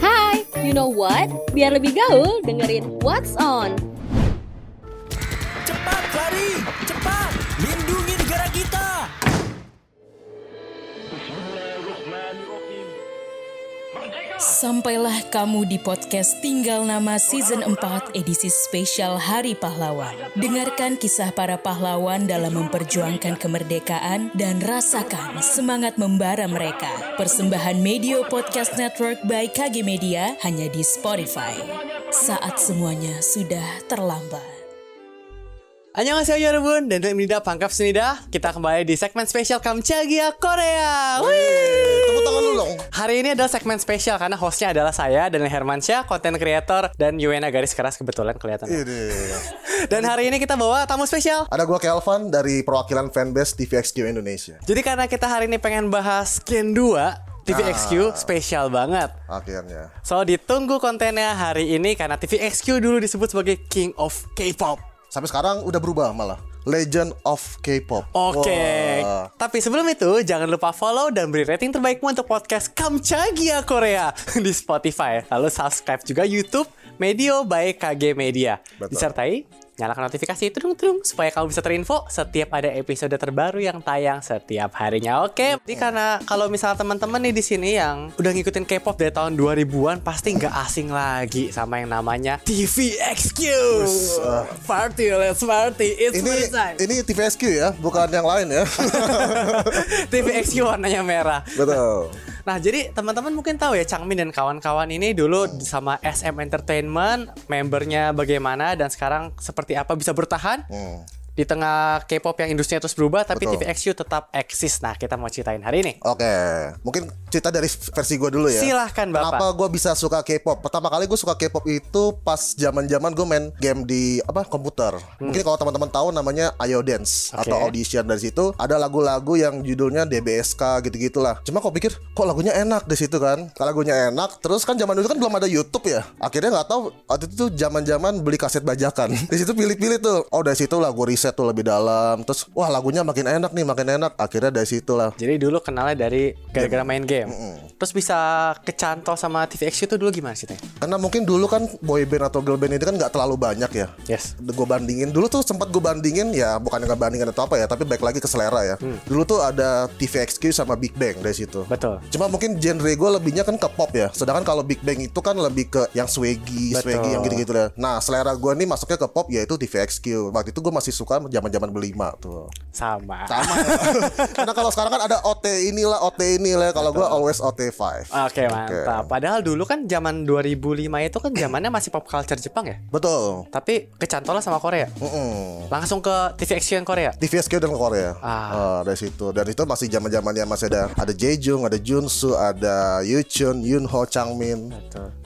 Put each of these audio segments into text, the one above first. Hai, you know what? Biar lebih gaul, dengerin What's On. Cepat lari, cepat lindungi negara kita. Sampailah kamu di podcast Tinggal Nama Season 4 edisi spesial Hari Pahlawan. Dengarkan kisah para pahlawan dalam memperjuangkan kemerdekaan dan rasakan semangat membara mereka. Persembahan Medio Podcast Network by KG Media hanya di Spotify. Saat semuanya sudah terlambat. Annyeonghaseyo Yorobun dan Nida Pangkap Senida Kita kembali di segmen spesial Kamchagia Korea Wih. Tepuk tangan dulu dong. Hari ini adalah segmen spesial karena hostnya adalah saya dan Hermansyah, konten creator dan Yuena garis keras kebetulan kelihatan. Ini. Dan hari ini kita bawa tamu spesial. Ada gua Kelvin dari perwakilan fanbase TVXQ Indonesia. Jadi karena kita hari ini pengen bahas Ken 2 TVXQ spesial banget. Akhirnya. So ditunggu kontennya hari ini karena TVXQ dulu disebut sebagai King of K-pop. Sampai sekarang udah berubah malah. Legend of K-pop. Oke. Wah. Tapi sebelum itu jangan lupa follow dan beri rating terbaikmu untuk podcast Kamchagia Korea di Spotify. Lalu subscribe juga YouTube Medio by KG Media. Betul. Disertai nyalakan notifikasi itu dong supaya kamu bisa terinfo setiap ada episode terbaru yang tayang setiap harinya. Oke, jadi karena kalau misalnya teman-teman nih di sini yang udah ngikutin K-pop dari tahun 2000-an pasti nggak asing lagi sama yang namanya TVXQ. Party, let's party. It's ah. Ini party time. ini TVXQ ya, bukan yang lain ya. TVXQ warnanya merah. Betul. Nah, jadi teman-teman mungkin tahu ya Changmin dan kawan-kawan ini dulu sama SM Entertainment, membernya bagaimana dan sekarang seperti apa bisa bertahan Hmm. di tengah K-pop yang industrinya terus berubah tapi Betul. TVXQ tetap eksis. Nah, kita mau ceritain hari ini. Oke, mungkin cerita dari versi gue dulu ya. Silahkan, Bapak. Kenapa gue bisa suka K-pop? Pertama kali gue suka K-pop itu pas zaman-zaman gue main game di apa komputer. Mungkin kalau teman-teman tahu namanya Ayo Dance Hmm. Oke. atau Audition dari situ ada lagu-lagu yang judulnya DBSK gitu-gitulah. Cuma kok pikir kok lagunya enak di situ kan? Kalau lagunya enak, terus kan zaman dulu kan belum ada YouTube ya. Akhirnya nggak tahu waktu itu tuh zaman-zaman beli kaset bajakan. di situ pilih-pilih tuh. Oh dari situ lah gue riset tuh lebih dalam. Terus wah lagunya makin enak nih, makin enak. Akhirnya dari situ lah. Jadi dulu kenalnya dari gara-gara main game. Hmm. Terus bisa kecantol sama TVXQ itu dulu gimana sih, Teh? Karena mungkin dulu kan boy band atau girl band itu kan nggak terlalu banyak ya. Yes. Gue bandingin dulu tuh sempat gue bandingin ya bukan nggak bandingin atau apa ya, tapi baik lagi ke selera ya. Dulu tuh ada TVXQ sama Big Bang dari situ. Hmm. Betul. Cuma mungkin genre gue lebihnya kan ke pop ya. Sedangkan kalau Big Bang itu kan lebih ke yang swaggy, Betul. swaggy yang gitu-gitu deh. Nah selera gue nih masuknya ke pop yaitu TVXQ. Waktu itu gue masih suka zaman-zaman berlima tuh. Sama. Sama. ya. Karena kalau sekarang kan ada OT inilah, OT inilah. Kalau gue always OT5. Oke, mantap. Padahal dulu kan zaman 2005 itu kan zamannya masih pop culture Jepang ya. Betul. Tapi kecantolnya sama Korea. Mm-mm. Langsung ke TVXQ yang Korea. TVSQ dan Korea. Ah. Ah. dari situ. Dan itu masih zaman-zamannya masih ada ada Jejung, ada Junsu, ada Yuchun, Yunho, Changmin.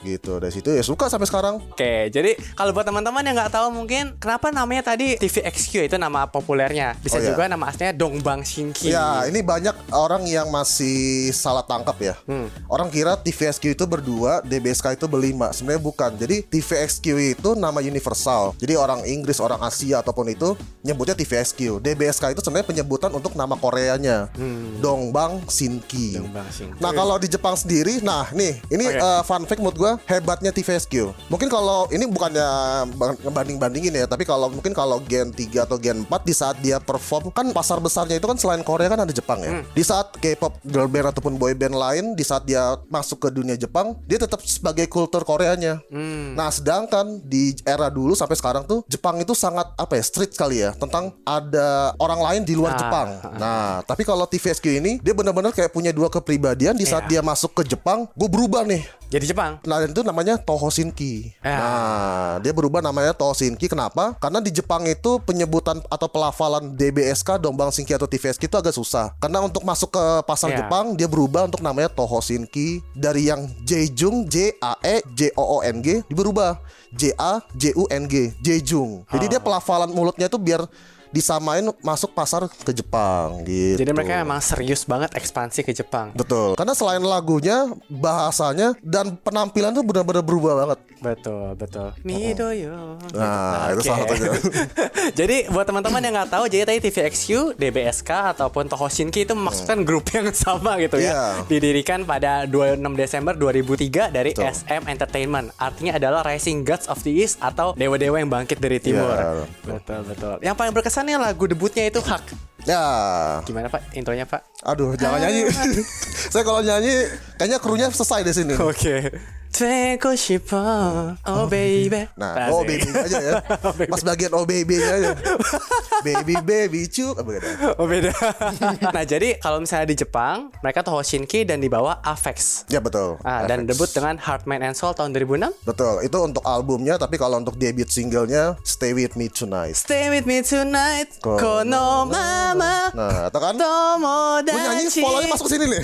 Gitu. Dari situ ya suka sampai sekarang. Oke, jadi kalau buat teman-teman yang nggak tahu mungkin kenapa namanya tadi TVXQ itu nama populernya. Bisa Oh, iya. juga nama aslinya Dongbang Shinki. Ya, ini banyak orang yang masih salah tangkap ya. Hmm. Orang kira TVSQ itu berdua, DBSK itu berlima. Sebenarnya bukan. Jadi TVXQ itu nama universal. Jadi orang Inggris, orang Asia ataupun itu nyebutnya TVSQ. DBSK itu sebenarnya penyebutan untuk nama Koreanya. Dongbang Hmm. Shinki. Dongbang Shinki. Nah, kalau di Jepang sendiri, nah nih, ini Oke. eh, fun fact menurut gue hebatnya TVSQ. Mungkin kalau ini bukannya bang- ngebanding-bandingin ya, tapi kalau mungkin kalau Gen 3 atau Gen 4 di saat dia perform kan pasar besarnya itu kan selain Korea kan ada Jepang ya. Di saat K-pop girl band ataupun boy band lain di saat dia masuk ke dunia Jepang, dia tetap sebagai kultur Koreanya. Nah, sedangkan di era dulu sampai sekarang tuh Jepang itu sangat apa ya, street kali ya tentang ada orang lain di luar Ah. Jepang. Nah, tapi kalau TVSQ ini dia benar-benar kayak punya dua kepribadian di saat dia masuk ke Jepang, gue berubah nih. Jadi Jepang. Nah, dan itu namanya Tohosinki. Ya. Nah, dia berubah namanya Tohosinki. Kenapa? Karena di Jepang itu penyebutan atau pelafalan DBSK, Dombang Shinki atau TVSK itu agak susah. Karena untuk masuk ke pasar Ya. Jepang, dia berubah untuk namanya Tohosinki dari yang Jejung J A E J O O N G dia berubah J A J U N G Jejung. Jadi dia pelafalan mulutnya itu biar disamain masuk pasar ke Jepang gitu. Jadi mereka emang serius banget ekspansi ke Jepang. Betul, karena selain lagunya, bahasanya dan penampilan tuh benar-benar berubah banget. Betul, betul. Midoyo. Nah, Oke. itu salah satunya. jadi buat teman-teman yang nggak tahu, jadi tadi TVXQ, DBSK ataupun Tohoshinki itu memaksudkan grup yang sama gitu ya. Hmm. Iya. Didirikan pada 26 Desember 2003 dari Betul. SM Entertainment. Artinya adalah Rising Gods of the East atau dewa-dewa yang bangkit dari timur. Iya. Betul, betul. Yang paling berkesannya lagu debutnya itu Hak. Ya, Gimana Pak intronya Pak? aduh jangan nyanyi. Saya kalau nyanyi kayaknya krunya selesai di sini. Oke. Twinkle Shippo, oh baby. Nah, oh baby aja ya. Pas bagian oh baby aja. baby baby cu. Ah, bukan, ya. Oh beda. nah jadi kalau misalnya di Jepang mereka tuh Hoshinki dan di bawah Avex. Ya betul. Ah, dan Efek. debut dengan Heart, Mind, and Soul tahun 2006. Betul, itu untuk albumnya tapi kalau untuk debut singlenya Stay With Me Tonight. Stay with me tonight, Kono kono mama, Nah, itu kan gue nyanyi tomodachi. follow masuk Oh. sini nih.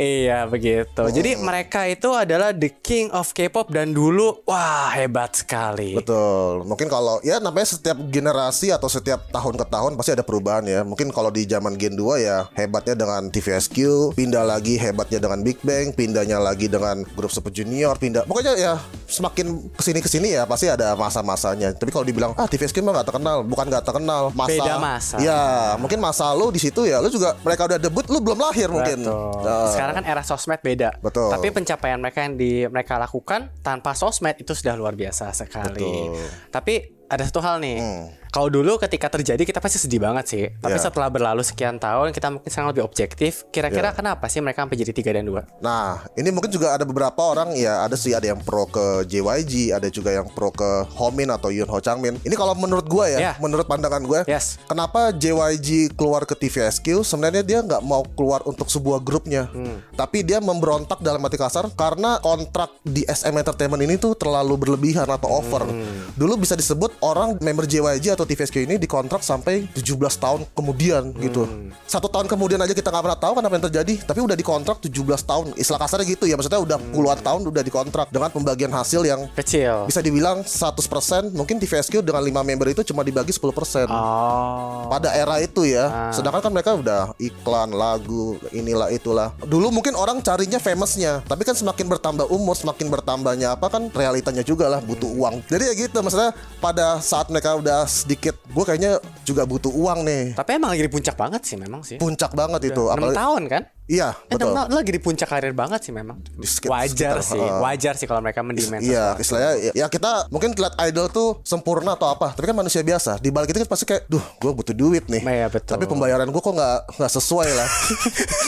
Iya begitu. Jadi mereka itu adalah the king of K-pop dan dulu wah hebat sekali. Betul. Mungkin kalau ya namanya setiap generasi atau setiap tahun ke tahun pasti ada perubahan ya. Mungkin kalau di zaman Gen 2 ya hebatnya dengan TVSQ, pindah lagi hebatnya dengan Big Bang, pindahnya lagi dengan grup Super Junior, pindah. Pokoknya ya semakin kesini kesini ya pasti ada masa-masanya. Tapi kalau dibilang ah TVSQ mah nggak terkenal, bukan nggak terkenal, masa. Beda masa. Ya mungkin masa lu di situ ya, lu juga mereka udah debut, lu belum lahir mungkin. Betul. Nah, Sekarang kan era sosmed beda. Betul. Tapi pencapaian mereka yang di mereka lakukan tanpa sosmed itu sudah luar biasa sekali. Betul. Tapi ada satu hal nih. Hmm. Kalau dulu ketika terjadi kita pasti sedih banget sih. Tapi Ya. setelah berlalu sekian tahun kita mungkin sekarang lebih objektif. Kira-kira kenapa sih mereka sampai jadi tiga dan dua? Nah, ini mungkin juga ada beberapa orang ya, ada sih ada yang pro ke JYG, ada juga yang pro ke Homin atau Yoon Ho Changmin. Ini kalau menurut gua Ya. ya, menurut pandangan gua, Yes. kenapa JYG keluar ke TVSQ? Sebenarnya dia nggak mau keluar untuk sebuah grupnya, tapi dia memberontak dalam hati kasar karena kontrak di SM Entertainment ini tuh terlalu berlebihan atau over. Dulu bisa disebut orang member JYG atau TVSQ ini dikontrak sampai 17 tahun kemudian gitu. Satu tahun kemudian aja kita nggak pernah tahu kenapa yang terjadi, tapi udah dikontrak 17 tahun. Istilah kasarnya gitu ya, maksudnya udah puluhan tahun udah dikontrak dengan pembagian hasil yang Kecil. bisa dibilang 100% mungkin TVSQ dengan 5 member itu cuma dibagi 10% Oh. pada era itu ya. Sedangkan kan mereka udah iklan, lagu, inilah itulah. Dulu mungkin orang carinya famousnya, tapi kan semakin bertambah umur, semakin bertambahnya apa kan realitanya juga lah butuh uang. Jadi ya gitu maksudnya pada saat mereka udah sedikit, gue kayaknya juga butuh uang nih. Tapi emang lagi di puncak banget sih memang sih. Puncak banget itu, 6 apalagi tahun kan? iya Eh, enam betul. tahun lagi di puncak karir banget sih memang. sekit- wajar sekitar, sih, ha. wajar sih kalau mereka mendemand. Iya, sesuatu. istilahnya ya- ya kita mungkin lihat idol tuh sempurna atau apa, tapi kan manusia biasa. Di balik itu kan pasti kayak, duh, gue butuh duit nih. Iya, betul. Tapi pembayaran gue kok nggak nggak sesuai lah.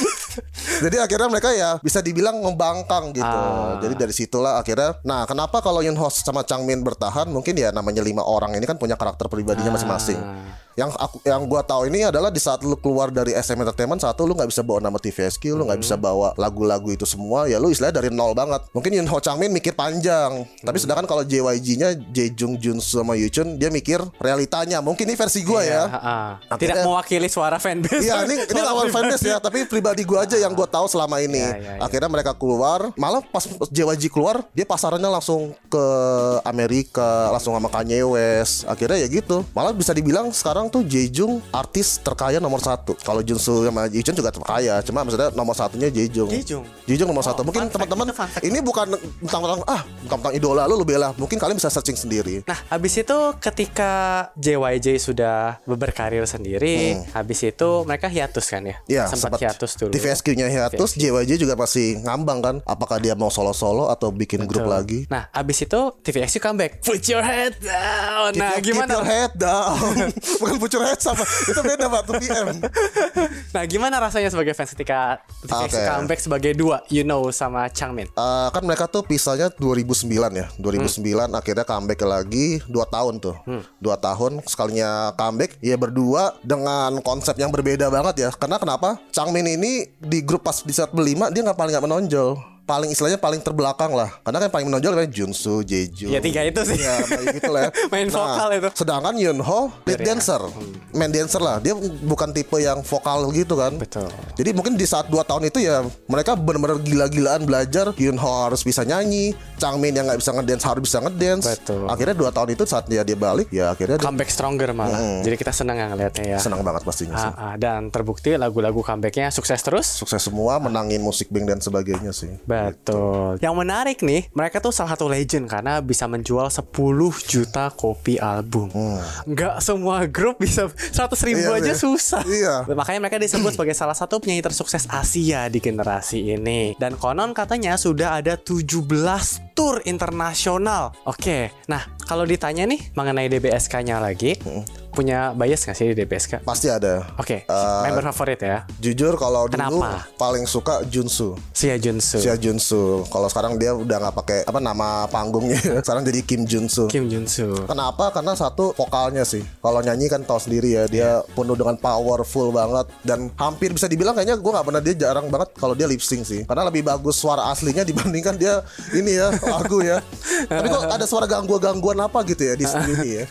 Jadi akhirnya mereka ya bisa dibilang ngebangkang gitu. Ah. Jadi dari situlah akhirnya. Nah, kenapa kalau Yun Ho sama Chang Min bertahan? Mungkin ya namanya lima orang ini kan punya karakter Ah. pribadinya masing-masing. Yang aku yang gua tahu ini adalah di saat lu keluar dari SM Entertainment satu lu nggak bisa bawa nama TVSQ, lu nggak Hmm. bisa bawa lagu-lagu itu semua. Ya lu istilahnya dari nol banget. Mungkin Yun Ho Chang Min mikir panjang. Tapi Hmm. sedangkan kalau JYG-nya Jejung Junsu sama Yuchun dia mikir realitanya. Mungkin ini versi gua Iya, ya. ha, ha. Akhirnya- Tidak mewakili suara fanbase. Iya ini ini lawan fanbase ya tapi pribadi gue aja yang gue tahu selama ini. Ya, ya, ya. Akhirnya mereka keluar, malah pas JYG keluar dia pasarannya langsung ke Amerika, langsung sama Kanye West. Akhirnya ya gitu. Malah bisa dibilang sekarang tuh Jejung artis terkaya nomor satu. Kalau Junsu sama Jichun juga terkaya, cuma maksudnya nomor satunya Jejung. Jejung. Oh, Jejung nomor satu. fun Mungkin fact, teman-teman itu fun fact. ini bukan tentang-tentang ah tentang idola lu lu bela. Mungkin kalian bisa searching sendiri. Nah, habis itu ketika JYJ sudah berkarir sendiri, Hmm. habis itu mereka hiatus kan ya? Ya, sempat, hiatus dulu. TVSQ-nya hiatus, JYJ juga masih ngambang kan. Apakah dia mau solo-solo atau bikin grup Betul. lagi? Nah, habis itu TVXQ comeback. Put your head down. Nah, Keep- gimana? Keep your head down. Bukan put your head sama. Itu beda Pak, 2PM. Nah, gimana rasanya sebagai fans ketika TVXQ Oke. comeback sebagai dua, you know sama Changmin? Eh, kan mereka tuh pisahnya 2009 ya 2009 Hmm. akhirnya comeback lagi 2 tahun tuh dua tahun sekalinya comeback ya berdua dengan konsep yang berbeda banget ya karena kenapa Changmin ini di grup pas di saat berlima dia nggak paling nggak menonjol paling istilahnya paling terbelakang lah. Karena kan yang paling menonjol kan Junsu, Jeju. Ya, tiga itu sih. Ya, kayak gitu lah. ya. Main vokal itu. Sedangkan Yunho Dari- ya. lead Hmm. dancer, main dancer lah. Dia bukan tipe yang vokal gitu kan. Betul. Jadi mungkin di saat 2 tahun itu ya mereka benar-benar gila-gilaan belajar Yunho harus bisa nyanyi, Changmin yang nggak bisa ngedance harus bisa ngedance. Betul. Akhirnya 2 tahun itu saat dia dia balik ya akhirnya dia Comeback stronger malah. Hmm. Jadi kita seneng ya ngeliatnya ya. senang banget pastinya sih. Ah, ah, dan terbukti lagu-lagu comebacknya sukses terus. Sukses semua menangin musik bank dan sebagainya sih. Betul. Yang menarik nih, mereka tuh salah satu legend karena bisa menjual 10 juta kopi album. Nggak semua grup bisa 100 ribu Hmm. aja Iya, iya. susah. Iya. Makanya mereka disebut sebagai salah satu penyanyi tersukses Asia di generasi ini. Dan konon katanya sudah ada 17 tour internasional. Oke, nah kalau ditanya nih mengenai DBSK-nya lagi, Hmm. punya bias nggak sih di DBSK? Pasti ada. Oke, Eh, member favorit ya, Jujur kalau dulu Kenapa? paling suka Junsu. Sia Junsu. Sia Junsu. Kalau sekarang dia udah nggak pakai apa nama panggungnya. sekarang jadi Kim Junsu. Kim Junsu. Kenapa? Karena satu vokalnya sih. Kalau nyanyi kan tahu sendiri ya, dia Iya. penuh dengan powerful banget dan hampir bisa dibilang kayaknya gue nggak pernah dia jarang banget kalau dia lip sync sih. Karena lebih bagus suara aslinya dibandingkan dia ini ya lagu ya. Tapi kok ada suara gangguan-gangguan apa gitu ya di sini ya.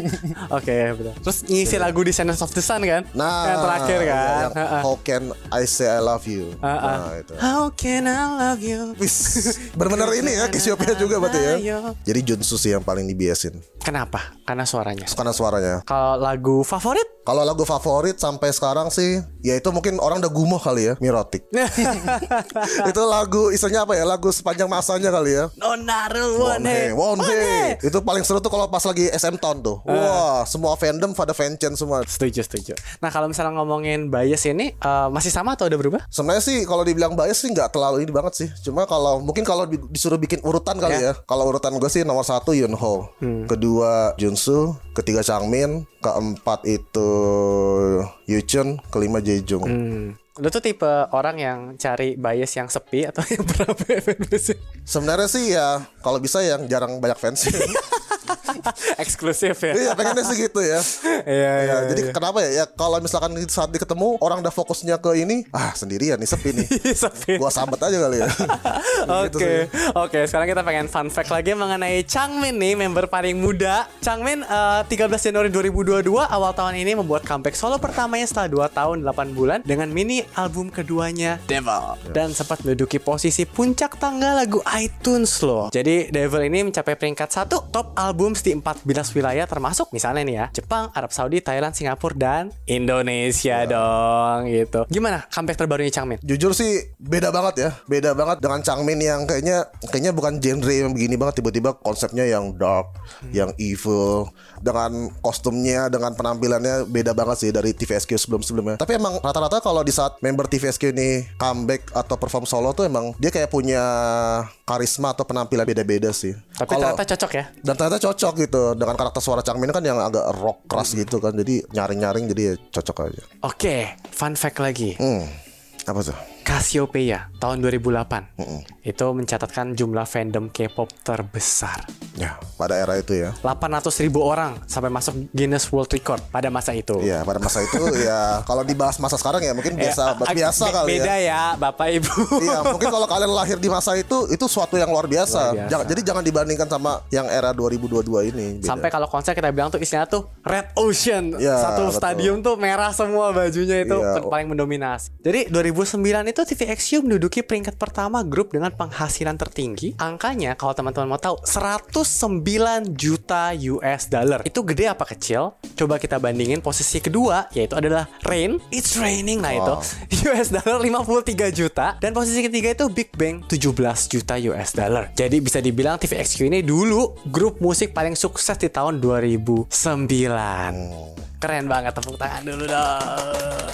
Oke, betul. Terus ngisi lagu di Sense of the Sun kan? Nah, yang terakhir kan. yang Ha-ha. How can I say I love you? Ha-ha. Nah, itu. How can I love you? Wis, Bener-bener ini ya Kesiopnya juga berarti ya Jadi Junsu sih yang paling dibiasin Kenapa? Karena suaranya. Karena suaranya Kalau lagu favorit? Kalau lagu favorit sampai sekarang sih Ya itu mungkin orang udah gumoh kali ya Mirotik Itu lagu istilahnya apa ya Lagu sepanjang masanya kali ya Onaru Wonhe. Wonhe Eh. Itu paling seru tuh kalau pas lagi SM Town tuh Wah semua fandom pada fancen semua Setuju, setuju. Nah, kalau misalnya ngomongin bias ini eh, masih sama atau udah berubah? Sebenarnya sih kalau dibilang bias sih nggak terlalu ini banget sih. Cuma kalau mungkin kalau di- disuruh bikin urutan kali ya. Kalau urutan gue sih nomor satu Yunho, Hmm. kedua Junsu, ketiga Changmin, keempat itu Yuchun, kelima Jejung. Lu tuh tipe orang yang cari bias yang sepi atau yang pernah sih? Sebenarnya sih ya kalau bisa yang jarang banyak fans. Eksklusif ya. Iya pengennya sih gitu ya. Iya, Ya, iya. jadi kenapa ya? Ya kalau misalkan saat diketemu orang udah fokusnya ke ini, ah sendirian nih sepi nih. Iya, Sepi. Gua sambet aja kali ya. Gitu sih. Oke, oke. Sekarang kita pengen fun fact lagi mengenai Changmin nih, member paling muda. Changmin eh, 13 Januari 2022 awal tahun ini membuat comeback solo pertamanya setelah 2 tahun 8 bulan dengan mini album keduanya Devil dan sempat menduduki posisi puncak tangga lagu iTunes loh. Jadi Devil ini mencapai peringkat 1 top album di 14 wilayah termasuk misalnya nih ya Jepang, Arab Saudi, Thailand, Singapura dan Indonesia Iya. dong gitu. Gimana comeback terbarunya Changmin? jujur sih beda banget ya beda banget dengan Changmin yang kayaknya kayaknya bukan genre yang begini banget tiba-tiba konsepnya yang dark Hmm. yang evil dengan kostumnya dengan penampilannya beda banget sih dari TVSQ sebelum-sebelumnya tapi emang rata-rata kalau di saat member TVSQ ini comeback atau perform solo tuh emang dia kayak punya karisma atau penampilan beda-beda sih Tapi Kalau- ternyata cocok ya. dan ternyata cocok gitu dengan karakter suara Changmin kan yang agak rock keras gitu kan jadi nyaring-nyaring jadi ya cocok aja Oke, fun fact lagi. hmm apa tuh Cassiopeia tahun 2008 itu mencatatkan jumlah fandom K-pop terbesar. ya pada era itu ya 800 ribu orang sampai masuk Guinness World Record pada masa itu. Iya pada masa itu ya kalau dibahas masa sekarang ya mungkin biasa Eh, biasa be- kali Beda ya. ya, Bapak Ibu. Iya mungkin kalau kalian lahir di masa itu itu suatu yang luar biasa. Luar biasa. Jangan- jadi jangan dibandingkan sama yang era 2022 ini. beda. Sampai kalau konser kita bilang tuh istilahnya tuh Red Ocean. Iya, Satu betul. stadium tuh merah semua bajunya itu Iya. ter- paling mendominasi. Jadi 2009 itu TVXQ menduduki peringkat pertama grup dengan penghasilan tertinggi. Angkanya kalau teman-teman mau tahu 109 juta US dollar. Itu gede apa kecil? Coba kita bandingin posisi kedua yaitu adalah Rain, It's Raining nah itu US dollar 53 juta dan posisi ketiga itu Big Bang 17 juta US dollar. Jadi bisa dibilang TVXQ ini dulu grup musik paling sukses di tahun 2009. Hmm. Keren banget tepuk tangan dulu dong.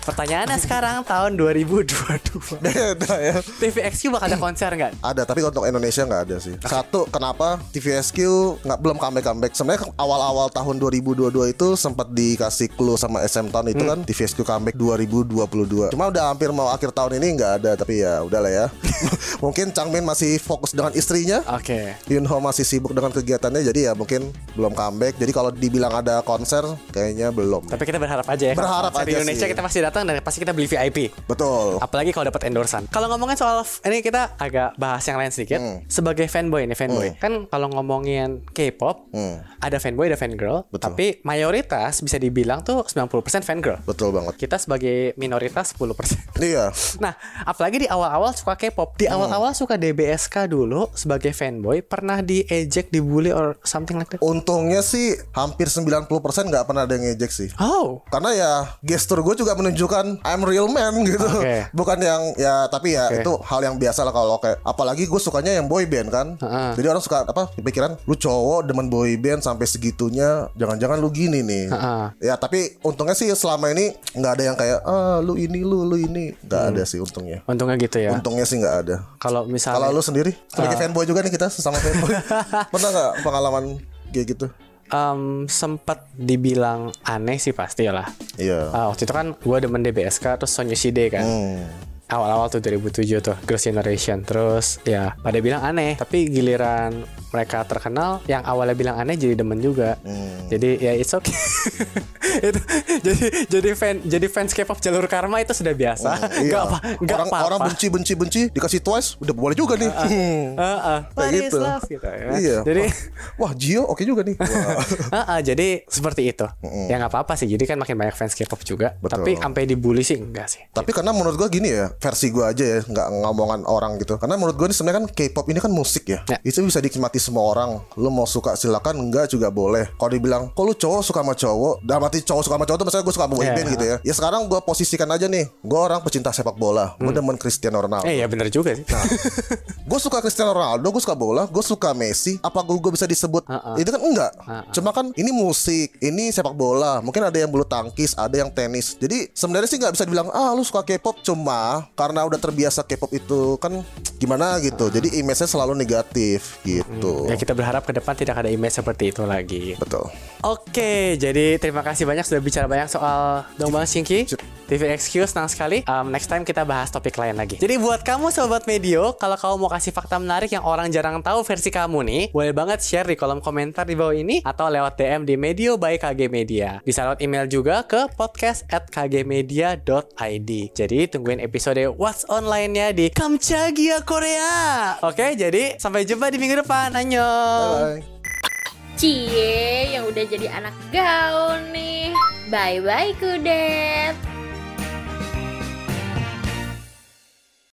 Pertanyaannya sekarang tahun 2022 beda ya. TVXQ bakal ada konser nggak? Ada tapi untuk Indonesia nggak ada sih. Ah. Satu kenapa TVSQ nggak belum comeback comeback. Sebenarnya ke- awal-awal tahun 2022 itu sempat dikasih clue sama SM Town itu kan Hmm. TVSQ comeback 2022. Cuma udah hampir mau akhir tahun ini nggak ada tapi ya udahlah ya. mungkin Changmin masih fokus dengan istrinya. Oke. Yunho masih sibuk dengan kegiatannya jadi ya mungkin belum comeback. Jadi kalau dibilang ada konser kayaknya belum. Tapi kita berharap aja ya. Berharap konser di aja Indonesia sih. kita pasti datang dan pasti kita beli VIP. Betul. Apalagi kalau dapat endorsan. Kalau ngomongin soal f- ini kita agak bahas yang lain sedikit. Hmm. Sebagai fanboy nih fanboy. Kan kalau ngomongin K-pop, Hmm. ada fanboy ada fangirl, Betul. tapi mayoritas bisa dibilang tuh 90% fangirl. Betul banget. Kita sebagai minoritas 10%. Iya. Nah, apalagi di awal-awal suka K-pop. Di Hmm. awal-awal suka DBSK dulu sebagai fanboy, pernah diejek, dibully or something like that. Untungnya sih hampir 90% nggak pernah ada yang ngejek sih. Oh. Karena ya gestur gue juga menunjukkan I'm real man gitu. Oke. Bukan yang ya tapi ya Oke. itu hal yang biasa lah kalau kayak apalagi gue sukanya yang boy band kan. Heeh. Jadi orang suka apa pikiran lu cowok demen boy band sampai segitunya jangan-jangan lu gini nih. Heeh. Ya tapi untungnya sih selama ini nggak ada yang kayak ah lu ini lu lu ini nggak ada sih untungnya. Untungnya gitu Hmm. ya. Ah. Untungnya sih nggak ada. Kalau misalnya Kalau lu sendiri sebagai fanboy juga nih kita sesama fanboy. Pernah nggak pengalaman kayak gitu? em, sempat dibilang aneh sih pastilah. Iya. Ah, waktu itu kan gue demen DBSK terus Sony Shide kan. Hmm. Awal-awal tuh 2007 tuh Girls Generation Terus ya pada bilang aneh Tapi giliran mereka terkenal Yang awalnya bilang aneh jadi demen juga Hmm. Jadi ya it's okay Itu- Jadi jadi fan jadi fans K-pop jalur karma itu sudah biasa Hmm, iya. Gak apa nggak orang, apa-apa. orang benci benci benci dikasih twice udah boleh juga nih. Hmm. Heeh. Kayak What is gitu. love? gitu ya. Iya. Jadi Wah Gio oke juga nih. Wah. Heeh, jadi seperti itu. Ya nggak apa-apa sih. Jadi kan makin banyak fans K-pop juga. Hmm. Betul. Tapi sampai dibully sih enggak sih. Tapi karena menurut gua gini ya versi gua aja ya nggak ngomongan orang gitu. Karena menurut gua ini sebenarnya kan K-pop ini kan musik ya. Ya. Itu bisa dinikmati semua orang. Lu mau suka silakan, enggak juga boleh. Kalau dibilang kok lu cowok suka sama cowok, dalam arti cowok suka sama cowok tuh misalnya gua suka sama boyband Iya. gitu ya. Ya sekarang gua posisikan aja nih. Gua orang pecinta sepak bola. Gua demen Cristiano Ronaldo. Hmm. Eh ya bener juga sih. Nah, gue suka Cristiano Ronaldo, gue suka bola, gue suka Messi. Apa gue bisa disebut? Ha-ha. Itu kan enggak. Ha-ha. Cuma kan ini musik, ini sepak bola. Mungkin ada yang bulu tangkis, ada yang tenis. Jadi sebenarnya sih nggak bisa dibilang ah lu suka K-pop cuma karena udah terbiasa K-pop itu kan gimana gitu. Jadi image-nya selalu negatif gitu. Ya kita berharap ke depan tidak ada image seperti itu lagi. Betul. Oke, jadi terima kasih banyak sudah bicara banyak soal Dombang Shinki. TV Excuse, senang sekali. Um, next time kita bahas topik lain lagi. Jadi buat kamu Sobat Medio, kalau kamu mau kasih fakta menarik yang orang jarang tahu versi kamu nih, boleh banget share di kolom komentar di bawah ini atau lewat DM di Medio by KG Media. Bisa lewat email juga ke podcast at kgmedia.id. Jadi tungguin episode What's Online-nya di Kamchagia Korea. Oke, jadi sampai jumpa di minggu depan. Annyeong! Bye. Cie, yang udah jadi anak gaul nih. Bye-bye kudet.